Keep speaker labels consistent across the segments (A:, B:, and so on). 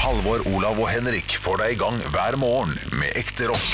A: Halvor, Olav og Henrik får deg i gang hver morgen med ekte rock.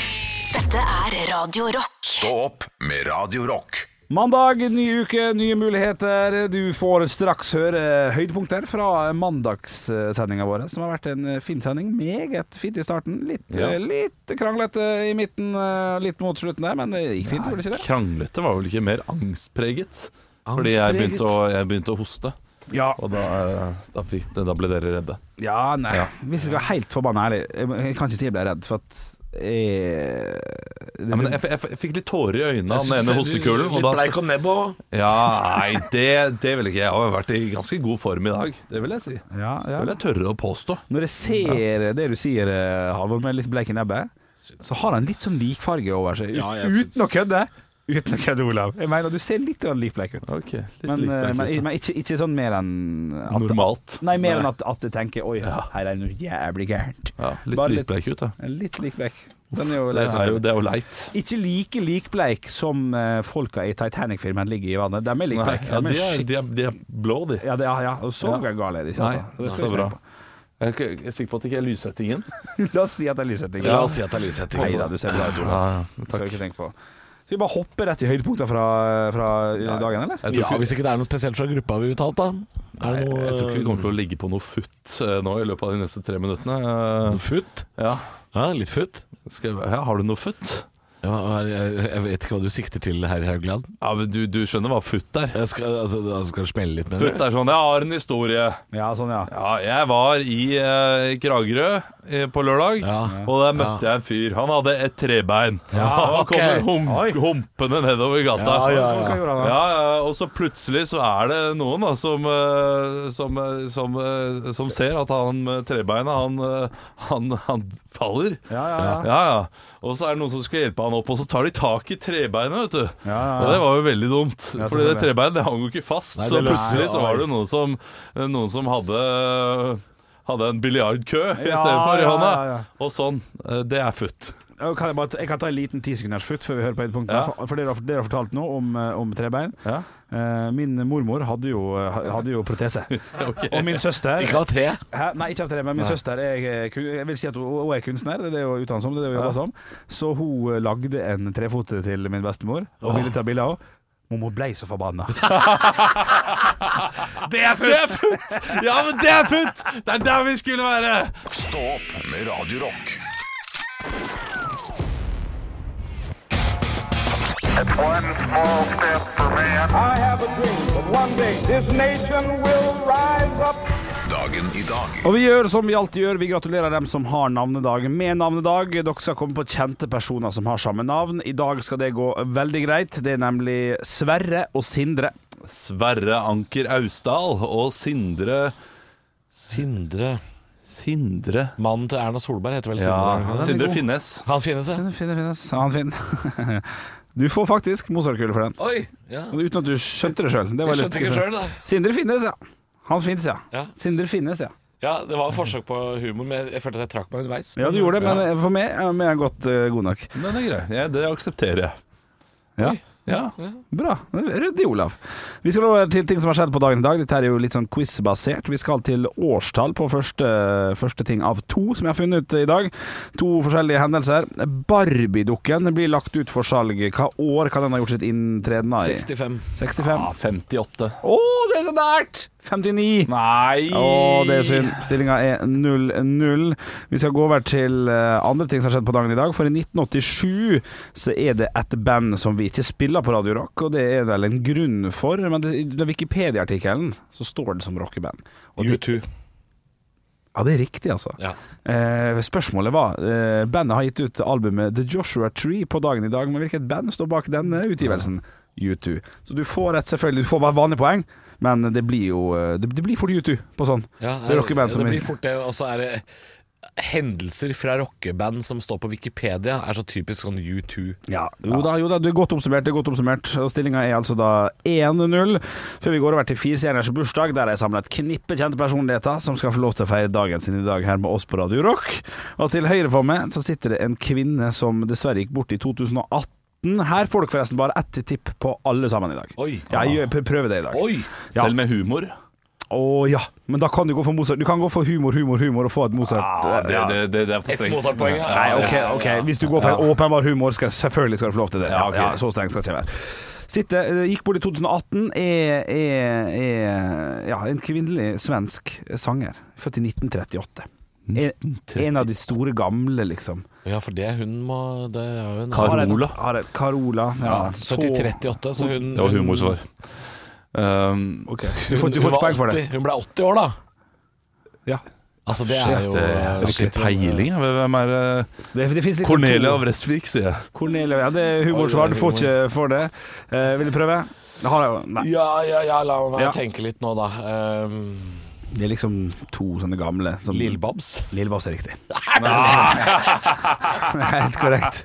B: Dette er Radio Rock.
A: Stå opp med Radio Rock.
C: Mandag, ny uke, nye muligheter. Du får straks høre høydepunkter fra mandagssendinga vår, som har vært en fin sending. Meget fint i starten. Litt,
D: Ja.
C: litt kranglete i midten, eh, litt mot slutten der, men det gikk fint, gjorde det ikke det?
D: Kranglete var vel ikke mer angstpreget? Fordi jeg
C: Angstpreget?
D: begynte å, jeg begynte å hoste,
C: Ja.
D: og da, eh, da, fikk, da ble dere redde.
C: ja, nei.
D: Ja.
C: Hvis jeg skal være helt forbanna ærlig, jeg, jeg kan ikke si jeg ble redd, for at eh, jeg,
D: Ja, men jeg, f- jeg, f- jeg fikk litt tårer i øynene av den ene hostekulen. Og
E: Litt
D: da,
E: bleik om nebbo.
D: ja, nei, det, det vil ikke jeg. Jeg har vært i ganske god form i dag. Det vil jeg si. Det
C: ja, ja.
D: vil jeg tørre å påstå.
C: Når jeg ser det du sier, eh, Halvor, med litt bleik i nebbet, så har han litt sånn likfarge over seg.
E: Ja, jeg
C: uten å
E: syns-
C: kødde! Uten å kødde, Olav. Jeg mener, du ser litt grann likbleik ut.
D: Ok, litt
C: Men, eh,
D: likt, litt
C: men,
D: likt.
C: men ikke, ikke sånn mer enn at,
D: Normalt.
C: Nei, mer enn at, at jeg tenker Oi, her er det noe jævlig gærent.
D: Ja, litt
C: Bare litt-
D: likbleik ut, da.
C: Litt likbleik. Den er jo
D: Det
C: lei seg
D: er jo,
C: for.
D: det er jo leit.
C: Ikke like likbleik som eh, folka i Titanic-filmen ligger i vannet. De er
D: Nei,
C: likbleik.
D: ja, de, er,
C: skikkelig-
D: de, er, de er blå, de.
C: ja, det, ja, ja. Og så gal er de ikke.
D: Nei,
C: altså. Det skal
D: så
C: vi
D: bra.
C: tenke
D: Jeg er ikke- jeg er sikker på at det ikke er lyssettingen.
C: på. La oss si at det er lyssetting.
E: La oss si at det er lyshetting.
C: Nei da, du ser bra ut, Olav.
D: Ja, ja,
C: Det skal vi ikke tenke på. Skal vi bare hoppe rett i høydepunkter fra, fra dagen, eller?
D: Jeg tror
E: Ja,
D: ikke-
E: hvis ikke det er noe spesielt fra gruppa vi uttalt, da. Er det noe,
D: Jeg tror ikke vi kommer
E: Um.
D: til å ligge på noe futt eh, nå i løpet av de neste tre minuttene.
E: noe futt?
D: Eh, Ja,
E: Ja, litt futt.
D: skal jeg, ja har du noe futt?
E: Ja, hva er det- jeg, jeg vet ikke hva du sikter til, herr Haugland.
D: Ja, men du, du skjønner hva futt er?
E: Jeg skal, altså, altså, skal det smelle litt med
D: Futt er sånn, jeg har en historie.
C: Ja, sånn, ja.
D: Ja, jeg var i eh, Kragerø eh, på lørdag,
E: Ja.
D: og der møtte jeg en fyr. Han hadde et trebein. han
E: ok.
D: kom
C: Oi.
D: hum humpende nedover gata.
E: Ja, ja,
C: Hva
E: ja.
C: gjorde han da?
D: Ja, ja, og så plutselig så er det noen da, som, eh, som, eh, som, eh, som ser at han med trebeina, han, eh, han, han faller.
C: Ja, ja, ja.
D: Ja, ja. Og så er det noen som skal hjelpe han opp, og så tar de tak i trebeinet, vet du.
C: Ja, ja, ja.
D: Og det var jo veldig dumt,
C: Ja,
D: Fordi det
C: selvfølgelig.
D: trebeinet det hang jo ikke fast.
E: Nei,
D: så
E: det løste
D: plutselig
E: seg.
D: så var det jo noen som, noen som hadde hadde en biljardkø i
C: Ja,
D: stedet for i
C: ja,
D: hånda.
C: ja, ja.
D: Og sånn. eh, Det er futt.
C: Jeg kan, bare, ta- jeg kan ta en liten tisekunders futt før vi hører på høydepunktene.
D: Ja.
C: For- For dere har, dere har fortalt noe om, eh, om trebein.
D: Ja.
C: Eh, min mormor hadde jo, hadde jo protese. Og min søster
E: Ikke av tre.
C: Hæ? Nei, ikke av tre, men min søster er, eh, kun- jeg vil si at hun, hun er kunstner. Det er det hun utdannes som. Det er det hun jobber som. Så hun eh, lagde en trefote til min bestemor, og ville ta bilde av henne. Mormor ble så forbanna.
D: Det er futt! Ja, men det er futt! Det er der vi skulle være!
A: Stå opp med Radio Rock.
F: It's one small step for man.
G: I have a dream that one day this nation will rise up.
A: Dagen i dag.
C: Og vi gjør som vi alltid gjør, vi gratulerer dem som har navnedag med navnedag. Dere skal komme på kjente personer som har samme navn. I dag skal det gå veldig greit. Det er nemlig Sverre og Sindre.
D: Sverre Anker Austdal og Sindre
E: Sindre.
D: Sindre
E: Mannen til Erna Solberg heter vel
D: Ja,
E: Sindre?
D: Sindre Finnes.
E: Han finnes, ja.
C: Finne, finnes. Han fin. Du får faktisk Mozart-kule for den.
E: Oi! Ja.
C: Uten at du skjønte det sjøl.
E: Jeg skjønte ikke sjøl, da.
C: Sindre finnes, ja. Han fins, ja.
E: Ja.
C: Sindre finnes, ja.
E: Ja, det var forsøk på humor, men jeg følte at jeg trakk meg underveis.
C: Ja, du gjorde det, men for meg er jeg godt eh, god nok.
D: Den er grei. Ja, det aksepterer jeg.
C: Ja.
D: Ja.
C: Bra. Ryddig, Olav. Vi skal over til ting som har skjedd på dagen i dag. Dette er jo litt sånn quiz-basert. Vi skal til årstall på første, første ting av to som jeg har funnet ut i dag. To forskjellige hendelser. Barbie-dukken blir lagt ut for salg. Hva år kan den ha gjort sitt inntreden da i?
E: 65.
C: 65?
D: Ah, 58.
C: Å, det er så nært! 59.
D: Nei!
C: Å, det er synd. Stillinga er 0-0. Vi skal gå over til eh, andre ting som har skjedd på dagen i dag. For i 1987 så er det et band som vi ikke spiller på Radio Rock, og det er det vel en grunn for. Men det, i den Wikipedia-artikkelen så står det som rockeband. Og det,
E: U2.
C: ja, det er riktig, altså.
E: Ja.
C: Eh, spørsmålet var eh, Bandet har gitt ut albumet The Joshua Tree på dagen i dag, men hvilket band står bak denne utgivelsen? U2. Så du får et selvfølgelig Du får bare vanlige poeng, men det blir jo eh, Det, det blir fort U2 på sånn.
E: Ja,
C: det er rockeband som
E: det blir fort det, og så er det Hendelser fra rockeband som står på Wikipedia, er så typisk sånn U2.
C: Ja, jo da, jo da, du er godt oppsummert. det er godt oppsummert Og Stillinga er altså da 1-0. Før vi går over til fire stjerners bursdag, der er jeg samla et knippe kjente personligheter som skal få lov til å feire dagen sin i dag her med oss på Radio Rock. Og til høyre for meg så sitter det en kvinne som dessverre gikk bort i 2018. Her får dere forresten bare ett tipp på alle sammen i dag.
E: Oi.
C: Ja, jeg gjør- prøver det i dag.
E: Oi!
C: Ja.
D: Selv med humor.
C: Å ja, men da kan du gå for Mozart. Du kan gå for humor, humor, humor og få et Mozart. eh,
D: Ah, det,
C: ja.
D: det, det, det er for
E: Et
D: strengt.
E: Mozart-poeng, ja.
C: Nei, ok, ok Hvis du går for en åpenbar humor, skal, selvfølgelig skal du få lov til det.
D: Ja,
C: Ja,
D: ok.
C: ja, så strengt skal det ikke være. Sitte, eh, gikk bort i 2018, er, er, er ja, en kvinnelig svensk sanger. Født i 1938. En, en av de store gamle, liksom.
E: Ja, for det hun må Det er jo en
D: Karola.
C: Har et- Har et, Carola. Ja, så-
E: 70-38, så hun
D: Det var
E: hun-
D: humorsvar. Um,
C: Ok,
E: Hun,
C: Du får, du får
E: hun var
C: ikke poeng for det.
E: 80 Hun ble 80 år, da.
C: Ja.
E: Altså, det er jo
D: det
C: eh,
D: er ikke peiling. jeg. Hvem er det?
C: Det, det finnes litt
D: Cornelia
C: sånn to-
D: av Restvik, sier jeg.
C: Cornelia, ja, det er humorsvar. Du får ikke for det. Eh, vil du prøve? Det har jeg jo. Nei.
E: Ja, ja, ja, la meg
C: Ja.
E: tenke litt nå, da. Um,
C: Det er liksom to sånne gamle som
E: Lillebabs.
C: Lillebabs er riktig. Det er Helt korrekt.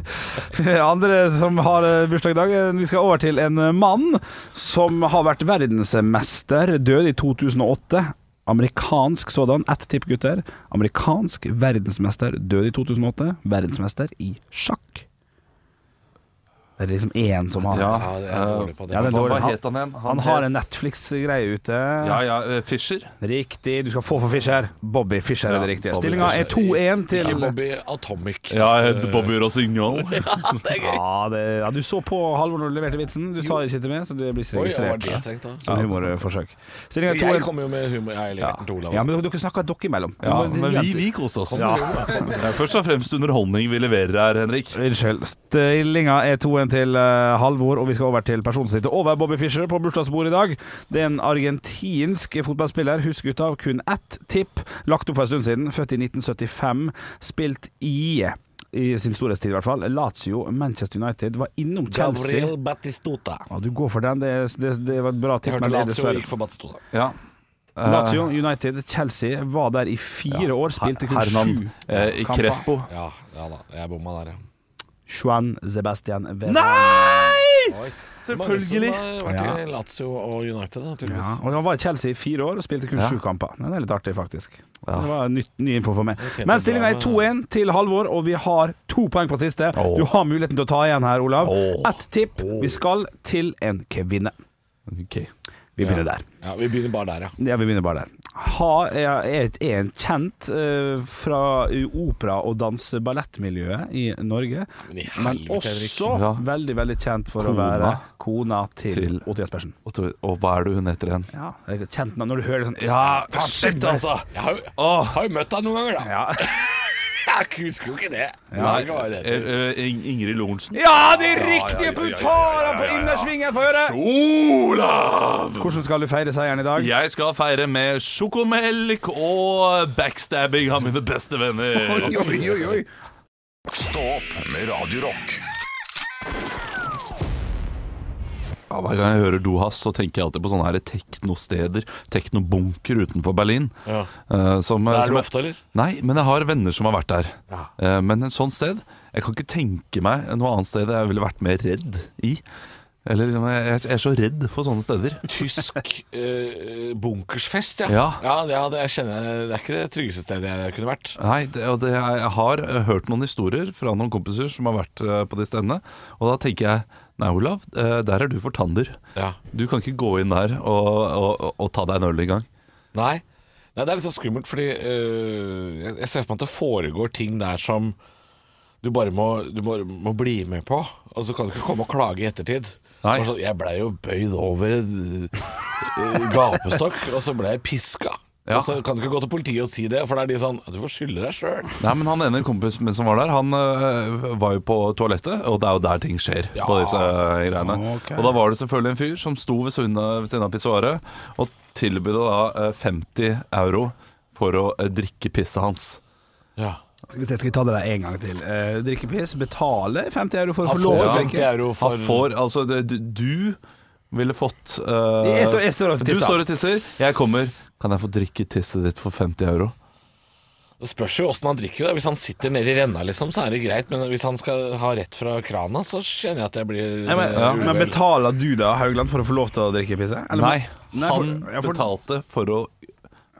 C: Andre som har eh, bursdag i dag eh, Vi skal over til en eh, mann som har vært verdensmester, død i 2008. Amerikansk sådan. Ett tipp, gutter. Amerikansk verdensmester, død i 2008. Verdensmester i sjakk. Det er liksom én som har
E: Ja, det er jeg dårlig på det.
C: Ja, det er dårlig.
D: Hva het han igjen?
C: Han har
D: het-
C: en Netflix-greie ute.
D: Ja, ja, eh, Fischer.
C: Riktig. Du skal få for Fischer. Bobby Fischer er det
D: Ja,
C: riktige.
D: Bobby
C: Stillinga er 2-1 til
E: Ikke Bobby Atomic.
D: Ja, jeg het Bobby Rossignol.
C: Ja, det, ja, du så på Halvor når du leverte vitsen. Du sa det ikke til meg, så det blir ikke
E: Oi, ja, var
C: registrert.
E: det strengt, da?
C: Som humorforsøk. Stillinga
E: Jeg
C: er 2-1.
E: kommer jo med humor.
C: Ja.
E: Jeg leverte den til Olav.
C: ja, men dere snakker dere imellom.
D: Ja,
C: Du må-
D: men vi, vi koser oss.
C: Ja.
D: Det er Eh, først og fremst underholdning vi leverer her, Henrik.
C: Unnskyld. Stillinga er 2-1 til eh, Halvor, og vi skal over til personen som sitter over Bobby Fischer på bursdagsbordet i dag. Det er en argentinsk fotballspiller. Husk gutta, kun ett tipp. Lagt opp for en stund siden. Født i 1975. Spilt i i sin storhetstid, i hvert fall. Lazio, Manchester United. Var innom Chelsea.
E: Gabriel Battistuta.
C: Ja, du går for den. Det, det, det var et bra
E: Jeg
C: tipp.
E: hørte
C: men det er
E: Lazio Eh.
C: dessverre-
E: gikk for Battistuta.
D: Ja.
C: Lazio, United, Chelsea var der i fire år. Spilte kun sju.
D: Hernan eh, i
C: kamper.
D: Crespo.
E: Ja, ja da. Jeg bomma der, ja.
C: Juan Sebastian Veran.
E: Oi. eh,
D: Selvfølgelig.
E: Mange som har
C: Ja.
E: vært i Lazio og United, da,
C: Ja,
E: tydeligvis.
C: og Han var i Chelsea i fire år og spilte kun sju kamper. Nei, Det er litt artig, faktisk. Det var nytt, ny info for meg.
E: Ok,
C: Men
E: så
C: stillinga
E: bra.
C: er 2-1 til Halvor, og vi har to poeng på siste. Du har muligheten til å ta igjen her, Olav. Ett tipp. Vi skal til en kvinne. Vi begynner der.
E: Ja. Vi begynner bare der, ja.
C: Ja, vi begynner bare der. Ha er, er et- er en kjent eh, fra opera- og danseballettmiljøet i Norge.
E: Men i
C: Men
E: helvete, Henrik.
C: også
D: Ja.
C: veldig, veldig kjent for å
D: Kona.
C: være kona til,
D: Til-
C: Otti Jespersen.
D: Og, to- og hva er det hun heter igjen?
C: Ja, jeg er kjent navn når du hører det sånn
D: Ja,
C: Faen,
D: shit,
C: skjønner.
D: altså!
E: Jeg har jo,
D: Åh.
E: har jo møtt deg noen ganger, da.
C: Ja.
E: Jeg husker jo ikke det.
D: Nei,
E: Jeg husker hva det
D: eh,
E: heter.
D: eh, Ing- Ingrid Lorentzen.
C: ja, det er
D: Ja, ja,
C: riktig!
D: ja,
C: Du
D: ja,
C: tar
D: ja,
C: den på
D: ja, ja, ja.
C: innersvingen for øret!
D: Olav!
C: Hvordan skal du feire seieren i dag?
D: Jeg skal feire med sjokomelk og backstabbing av mine beste venner.
A: Stå opp med Radio Rock.
D: Ja, hver gang jeg hører Dohas, så tenker jeg alltid på sånne her teknosteder. Teknobunker utenfor Berlin.
E: Ja.
D: eh, som,
E: Der er
D: som
E: du
D: jeg-
E: ofte, eller?
D: Nei, men jeg har venner som har vært der.
E: Ja.
D: Eh, men et sånt sted Jeg kan ikke tenke meg noe annet sted jeg ville vært mer redd i. Eller liksom, jeg, jeg er så redd for sånne steder.
E: Tysk eh, bunkersfest, ja.
D: Ja.
E: det, ja, det, jeg kjenner, det er ikke det tryggeste stedet jeg kunne vært.
D: Nei, det, og det, Jeg har eh, hørt noen historier fra noen kompiser som har vært eh, på de stedene. Og da tenker jeg Nei, Olav, eh, der er du for tander.
E: Ja.
D: Du kan ikke gå inn der og, og, og, og ta deg en øl engang.
E: Nei. Nei, det er litt sånn skummelt, fordi øh, jeg- jeg ser for meg at det foregår ting der som du bare må, du bare må bli med på. Og så kan du ikke komme og klage i ettertid.
D: Nei.
E: Bare sånn, jeg blei jo bøyd over en øh, gapestokk, og så blei jeg piska.
D: Ja.
E: Og så kan du ikke gå til politiet og si det, for da er de sånn Du får skylde deg sjøl.
D: Nei, men han ene kompisen min som var der, han øh, var jo på toalettet, og det er jo der ting skjer
E: Ja.
D: på disse øh, greiene. Og da var det selvfølgelig en fyr som sto ved siden av ved siden av pissoaret og tilbød da øh, 50 euro for å øh, drikke pisset hans.
E: Ja.
C: Skal vi se, skal vi ta det der en gang til. Eh, drikkepiss, betale 50 euro for å
E: Han
C: få lov
E: får
C: til å
E: 50
C: drikke.
E: euro for
D: Han får altså det, du, du ville fått øh,
C: Jeg står- jeg står og
D: Du
C: tisser.
D: står og tisser. Jeg kommer. Kan jeg få drikke tisset ditt for 50 euro?
E: Det spørs jo åssen han drikker. Da. Hvis han sitter nede i renna, liksom, så er det greit. Men hvis han skal ha rett fra krana, så kjenner jeg at jeg blir
C: Nei, men,
E: øh,
C: men
E: uvel.
C: betaler du da, Haugland, for å få lov til å drikke pisse? Eller-
D: Nei,
C: Nei, for-
D: han
C: ja, for-
D: betalte for å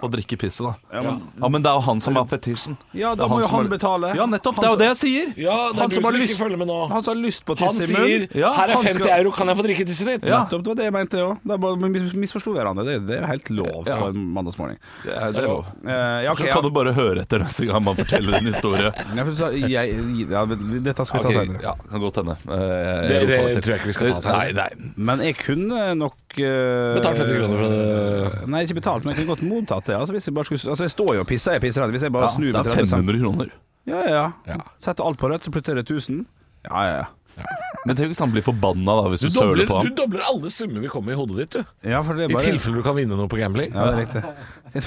D: å drikke pisset, da.
C: Ja, men-
D: Ja, men det er jo han som er fetisjen.
C: Ja, da
D: Det er
C: må jo
D: som
C: han
D: har-
C: betale.
D: Ja, nettopp.
C: Han
D: Det er jo
C: som-
D: det jeg sier.
E: Ja, det er
C: Han
E: du
C: som
E: som
C: har
E: ikke
C: lyst-
E: følger med nå.
C: Han som har lyst på
E: Han
C: tiss i
E: sier
C: munnen.
D: Ja,
E: 'her er
C: han
E: 50
C: skal-
E: euro, kan jeg få drikke tisset ditt'?
D: Ja.
C: Nettopp, det var det jeg mente jeg òg. Da bare mis- misforsto vi hverandre. Det, det er jo helt lov
D: Ja.
C: på en mandagsmorgen.
D: Det er, det er lov.
C: Eh, ja, ok,
D: Så
C: ja.
D: kan du bare høre etter neste gang man forteller en historie.
C: Ja, for du sa- jeg, ja, men dette skal vi ta
D: Ok,
C: senere.
D: Ja, kan godt hende. Eh,
E: Det,
D: jeg
E: det
D: tar til.
E: tror jeg ikke vi skal ta
D: Eh, Nei,
E: seg.
D: nei. Eh,
C: Men jeg kunne nok uh,
E: Betalt 50 kroner for det.
C: Nei, ikke betalt, men jeg kunne godt mottatt det. Altså, hvis jeg, bare skulle, altså, jeg står jo og pisser, jeg pisser redd. Hvis jeg bare
D: Ja,
C: snur meg
D: det er
C: 30 cent-
D: 500 kroner.
C: Ja, ja, ja.
E: Ja.
C: Setter alt på rødt, så plutselig er det 1000. Ja, ja, ja.
D: Men tenk hvis han blir forbanna da, hvis
E: Du
D: du, søler
E: dobler,
D: på
E: du
D: ham.
E: dobler alle summer vi kommer i hodet ditt, du.
C: ja for det er
E: I
C: bare
E: tilfelle du kan vinne noe på gambling.
C: Ja, det er riktig.
E: Det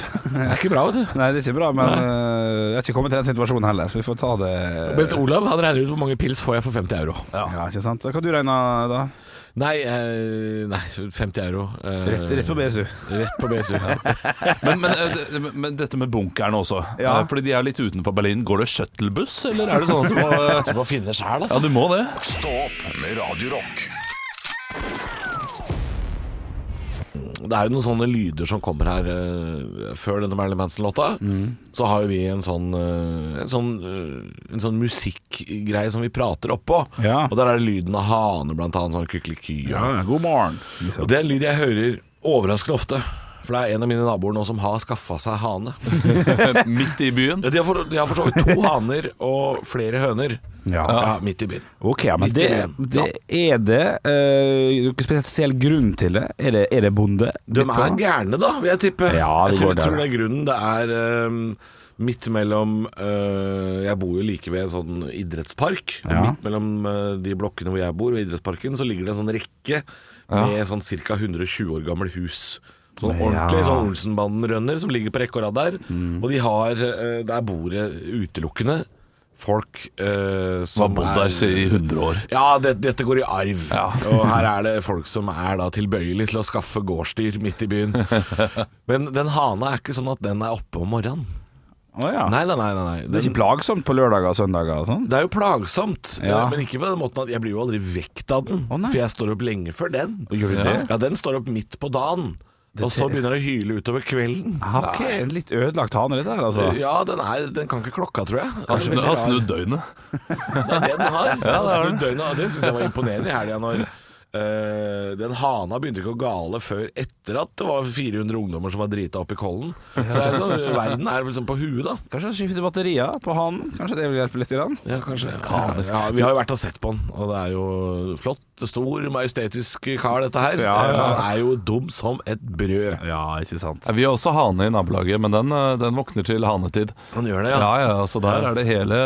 E: er ikke bra, vet du.
C: Nei, det er ikke bra, men øh, jeg har ikke kommet til den situasjonen heller, så vi får ta det
E: Mens Olav han regner ut hvor mange pils får jeg for 50 euro.
C: Ja, ikke sant? Hva kan du regne da?
E: Nei, eh, nei 50 euro. eh,
C: Rett, rett på BSU.
E: Rett på BSU.
D: Men, men, eh, det- men, men dette med bunkeren også.
C: Ja.
D: Eh, Fordi de er litt utenfor Berlin. Går det shuttlebuss, eller er det sånn at du må eh,
E: Du må finne sjæl,
D: Ja,
E: altså.
D: du må det.
A: Stå opp med Radio Rock.
E: Det er jo noen sånne lyder som kommer her eh, før denne Marilyn Manson-låta.
C: Mm.
E: Så har jo vi en sånn, eh, en sånn, eh, en sånn musikkgreie som vi prater oppå.
C: Ja.
E: Og der er det lyden av hane, blant annet. Sånn kykeliky. og-
C: god morgen.
E: Og det er en lyd jeg hører overraskende ofte. For det er en av mine naboer nå som har skaffa seg hane.
D: Midt i byen.
E: Ja, De har for de har for så vidt to haner og flere høner.
C: Ja.
E: Ja, midt i byen.
C: Ok, ja, men
E: Midt
C: det,
E: i byen.
C: det er det øh, noen spesiell grunn til det? Er det, er det bonde?
E: De
C: midt på?
E: er gærne, da, vil jeg tippe.
C: Ja, de
E: jeg tror,
C: går der,
E: tror det er grunnen. Det er ehm, midt mellom eh, Jeg bor jo like ved en sånn idrettspark. og
C: Ja.
E: Midt mellom eh, de blokkene hvor jeg bor og idrettsparken, så ligger det en sånn rekke med sånn ca. 120 år gamle hus. Sånn ordentlig
C: Ja. Mm.
E: sånn Olsenbanden-rønner som ligger på rekke og rad der. Og de har eh, Der bor det utelukkende folk eh,
D: Som har
E: som
D: bodd der siden i 100 år.
E: ja, det, dette går i arv.
D: Ja.
E: og her er det folk som er da tilbøyelig til å skaffe gårdsdyr midt i byen. Men den hana er ikke sånn at den er oppe om morgenen.
C: Å, ja.
E: Nei, nei, nei. nei, nei.
C: Det er ikke
E: Den,
C: plagsomt på lørdager og søndager og sånn?
E: det er jo plagsomt, Eh,
C: Ja.
E: men ikke på den måten at jeg blir jo aldri vekt av den.
C: Å, nei.
E: for jeg står opp lenge før den.
C: Gjør du
E: Ja.
C: det?
E: ja, Den står opp midt på dagen, og så begynner det å hyle utover kvelden.
C: Ja, ok, en litt ødelagt hane, dette her, altså.
E: Ja, den, er, den kan ikke klokka, tror jeg.
D: Har snu- har snudd døgnet.
E: Det er det den har. Den har
D: det har
E: snudd døgnet, og det syns jeg var imponerende i helga når eh, den hana begynte ikke å gale før etter at det var 400 ungdommer som var drita opp i kollen. Så det er sånn, verden er liksom på huet, da.
C: Kanskje skifte batterier på hanen? Kanskje det vil hjelpe litt? Grann?
E: Ja, kanskje. Ja, ja, vi har jo vært og sett på den, og det er jo flott, stor, majestetisk kar, dette her.
C: Ja, ja.
E: Han er jo dum som et brød.
C: Ja, ikke sant.
D: Ja, Vi har også hane i nabolaget, men den, eh, den våkner til hanetid.
E: Han gjør det,
D: Ja,
E: ja.
D: ja, altså der er det hele,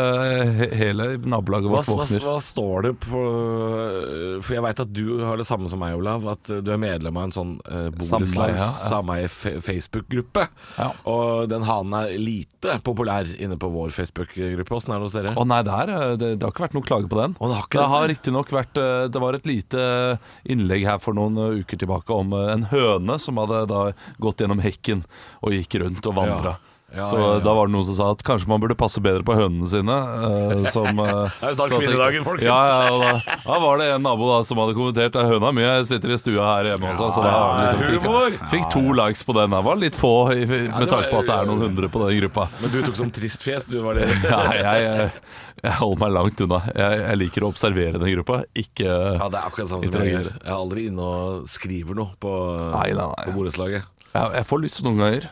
D: he- hele nabolaget
E: Hva,
D: vårt
E: hva,
D: våkner.
E: hva står det på For jeg veit at du har det samme som meg, Olav. At eh, du er medlem av en sånn uh,
D: Sameie, ja.
E: borettslags sameie-Facebook-gruppe.
D: Ja.
E: Og den hanen er lite populær inne på vår Facebook-gruppe. Åssen er det hos dere?
D: Å nei, der, eh, det, det har ikke vært noen klage på den.
E: Å, det har ikke
D: det
E: det?
D: har riktignok vært eh, Det var et lite eh, innlegg her for noen eh, uker tilbake om eh, en høne som hadde da gått gjennom hekken og gikk rundt og vandra.
E: Ja. Ja,
D: så
E: ja, ja.
D: da var det noen som sa at kanskje man burde passe bedre på hønene sine. eh, som, eh,
E: Det er jo snart
D: så at-
E: kvinnedagen, folkens.
D: Ja, ja, og da, da var det en nabo da som hadde kommentert at høna mi sitter i stua her hjemme også. Så da
E: Ja,
D: liksom,
E: humor!
D: fikk, fikk to likes på den. Det var litt få i- med
E: det var-
D: tanke på at det er noen hundre på den gruppa.
E: Men du tok som trist fjes, du var det.
D: Nei, jeg, jeg, jeg holder meg langt unna. Jeg, jeg liker å observere den gruppa, ikke
E: Ja, det er akkurat det samme som jeg gjør. Jeg er aldri inne og skriver noe på,
D: Nei, nei, nei.
E: på borettslaget.
D: Jeg, jeg får lyst noen ganger.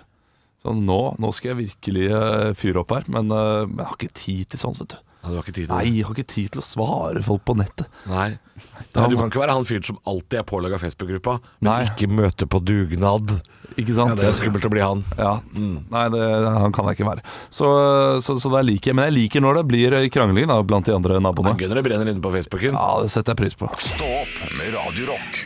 D: Sånn, nå, nå skal jeg virkelig eh, fyre opp her, men, eh, men jeg har ikke tid til sånt, vet du.
E: Nei, Du har ikke tid til
D: Nei,
E: det.
D: jeg har ikke tid til å svare folk på nettet.
E: Nei. Nei, du kan ikke være han fyren som alltid er pålaga Facebook-gruppa, men
D: Nei.
E: ikke møte på dugnad.
D: Ikke
E: Ja,
D: sant?
E: det er skummelt å bli han.
D: Ja. Nei, det, han kan jeg ikke være. Så, eh, så, så det liker jeg. Men jeg liker når det blir eh, krangling da, blant de andre
E: Det
D: naboene.
E: er gøy når det brenner inne på Facebooken.
D: Ja, det setter jeg pris på.
A: Stå opp med Radio Rock.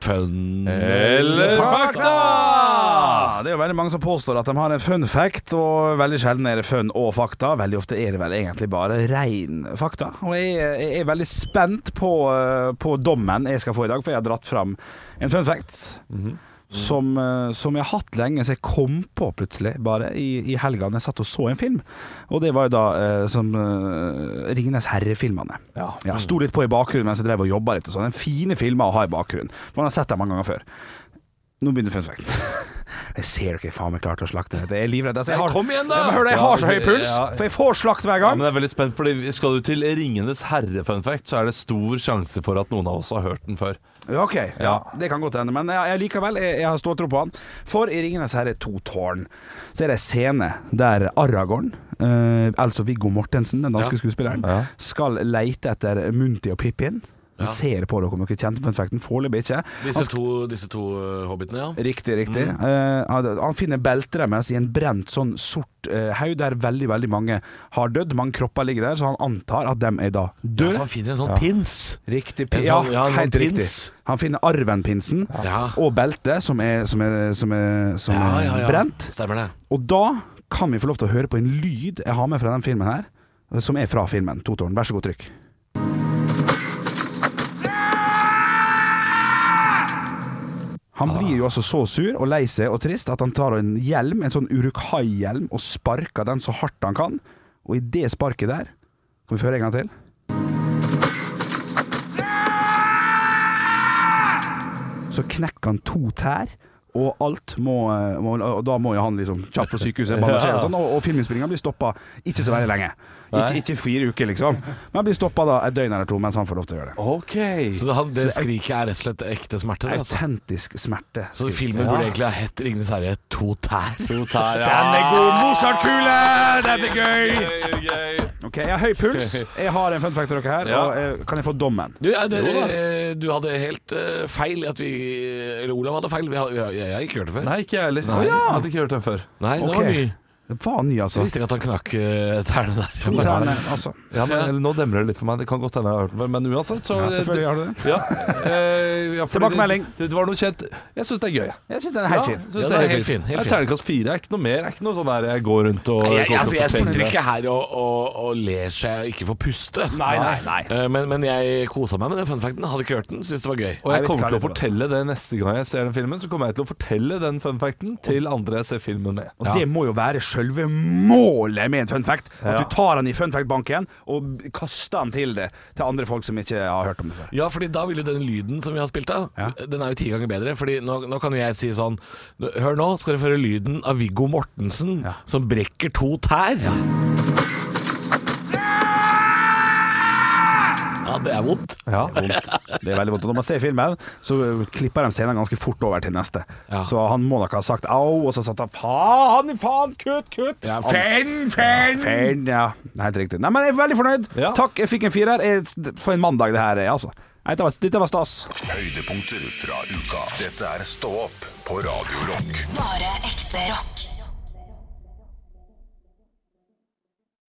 E: Fun
C: Eller fakta! Eh, Det er jo veldig mange som påstår at de har en fun fact, og veldig sjelden er det fun og fakta. Veldig ofte er det vel egentlig bare rein fakta. Og jeg, jeg er veldig spent på, eh, på dommen jeg skal få i dag, for jeg har dratt fram en fun fact. Som, eh, som jeg har hatt lenge, så jeg kom på plutselig, bare i, i helga da jeg satt og så en film. Og det var jo da eh, som eh, Ringenes herre-filmene.
D: Ja.
C: Ja, Sto litt på i bakgrunnen mens jeg drev og jobba litt. og sånn En fine filmer å ha i bakgrunnen. For Man har sett dem mange ganger før. Nå begynner fun fact. Jeg ser dere faen meg klart å slakte dette. Jeg er livredd. Altså, jeg har,
E: Kom igjen, da!
C: Ja, men hør da, jeg har så høy
D: Ja,
C: puls,
D: ja.
C: for jeg får slakt hver
D: Ja, men
C: gang.
D: jeg er veldig spent, fordi Skal du til Ringenes herre-fun fact, så er det stor sjanse for at noen av oss har hørt den før.
C: Ja, ok, ja. det kan godt hende, men jeg, jeg likevel jeg, jeg har stått tro på han. For i 'Ringenes herre to tårn' så er det en scene der Aragorn, eh, altså Viggo Mortensen, den danske skuespilleren, skal leite etter Munti og Pippin. Han ser på dere om dere kjente fun facten, foreløpig ikke.
E: Disse to, disse to eh, hobbitene, ja.
C: Riktig, riktig. Eh, han- han finner beltet deres i en brent sånn sort eh, haug der veldig, veldig mange har dødd. Mange kropper ligger der, så han antar at dem er da døde.
E: Han finner en sånn pins.
C: Riktig
E: En
C: pin.
E: sånn-
C: ja,
E: ja, en sånn
C: helt riktig.
E: prins.
C: Han finner arven-pinsen
E: Ja.
C: og beltet, som er, som er, som er, som er
E: Ja, ja, ja.
C: brent.
E: Stemmer det.
C: Og da kan vi få lov til å høre på en lyd jeg har med fra den filmen her, som er fra filmen Totoren. Vær så god, trykk. Han blir jo altså så sur og lei seg og trist at han tar en hjelm, en sånn Urukai-hjelm, og sparker den så hardt han kan. Og i det sparket der Kan vi få høre en gang til? Så knekker han to tær, og alt må, eh, må Og da må jo han liksom kjapt på sykehuset, bandasjere og sånn, og, og filminnspillinga blir stoppa ikke så veldig lenge. Ikke, ikke fire uker, liksom. Men blir stoppa da et døgn eller to mens han får lov til å gjøre det.
D: Ok
E: Så det, han, det skriket er rett og slett ekte smerte? Det, altså.
C: Autentisk smerte.
E: Så filmen burde egentlig ha hett 'Ringenes herre to tær'.
D: To tær, ja.
C: Den er god! Mozart-kule! Den er gøy!
D: Gøy, gøy.
C: Ok, Jeg har høy puls. Jeg har en fun fact til dere her.
D: Ja.
C: Og eh, kan jeg få dommen?
E: Du, ja, det, eh, du hadde helt eh, feil i at vi Eller Olav hadde feil. Vi hadde, jeg, jeg har ikke hørt det før.
D: Nei, ikke jeg heller.
E: Nei.
D: Jeg hadde ikke hørt den før.
E: Nei, det
C: Ok.
E: var ny.
C: Den var ny, altså.
E: Jeg visste ikke at han knakk eh, tærne der.
C: To tærne, altså.
D: Ja, men eller Nå demrer det litt for meg. Det kan godt hende jeg har hørt den før, men uansett så
C: Ja, selvfølgelig har du det.
D: Ja, eh, ja, fordi
C: Tilbakemelding.
D: Det, det var noe kjent. Jeg syns det er gøy. jeg.
C: Jeg syns den er helt
D: Ja,
C: fin.
D: synes
E: Ja,
D: det er
E: helt fin, helt
D: Jeg
E: fin.
D: Terningkast fire er ikke noe mer. Er ikke noe sånn der jeg går rundt og
E: Nei, Jeg,
D: går
E: altså,
D: rundt og
E: jeg sitter
D: tenker.
E: ikke her og, og, og ler seg ikke får puste.
C: nei, nei.
E: Eh, Men, men jeg kosa meg med den fun facten. Hadde ikke hørt den, syntes det var gøy.
D: Og
C: Jeg
D: jeg
C: vet ikke hva
D: kommer til å
C: det er
D: fortelle det neste gang jeg ser den filmen. Så kommer jeg til å fortelle den fun facten til andre jeg ser filmen med.
C: Og det må jo være selve målet med en fun fact. At
D: Ja.
C: du tar den i fun fact-banken og b- kaster den til det Til andre folk som ikke har hørt om det før.
E: Ja, fordi da vil jo den lyden som vi har spilt av,
C: Ja.
E: den er jo ti ganger bedre. Fordi nå, nå kan jo jeg si sånn "Nå- Hør nå, skal dere høre lyden av Viggo Mortensen
C: Ja.
E: som brekker to tær. Ja. det er vondt.
C: Ja. Vondt. Det er veldig vondt. Og når man ser filmen, så ø, klipper de scenen ganske fort over til neste.
E: Ja.
C: Så han må nok ha sagt au, og så satt han faen, faen, kutt, kutt!
E: Ja,
C: Han-
E: fenn, fenn!
C: Fair, ja. Helt riktig. Nei, men jeg er veldig fornøyd.
D: Ja.
C: Takk, jeg fikk en firer. Jeg- For en mandag det her er, altså. Nei, Dette var, dette var stas.
A: Høydepunkter fra uka. Dette er Stå opp på Radio Rock.
B: Bare ekte rock.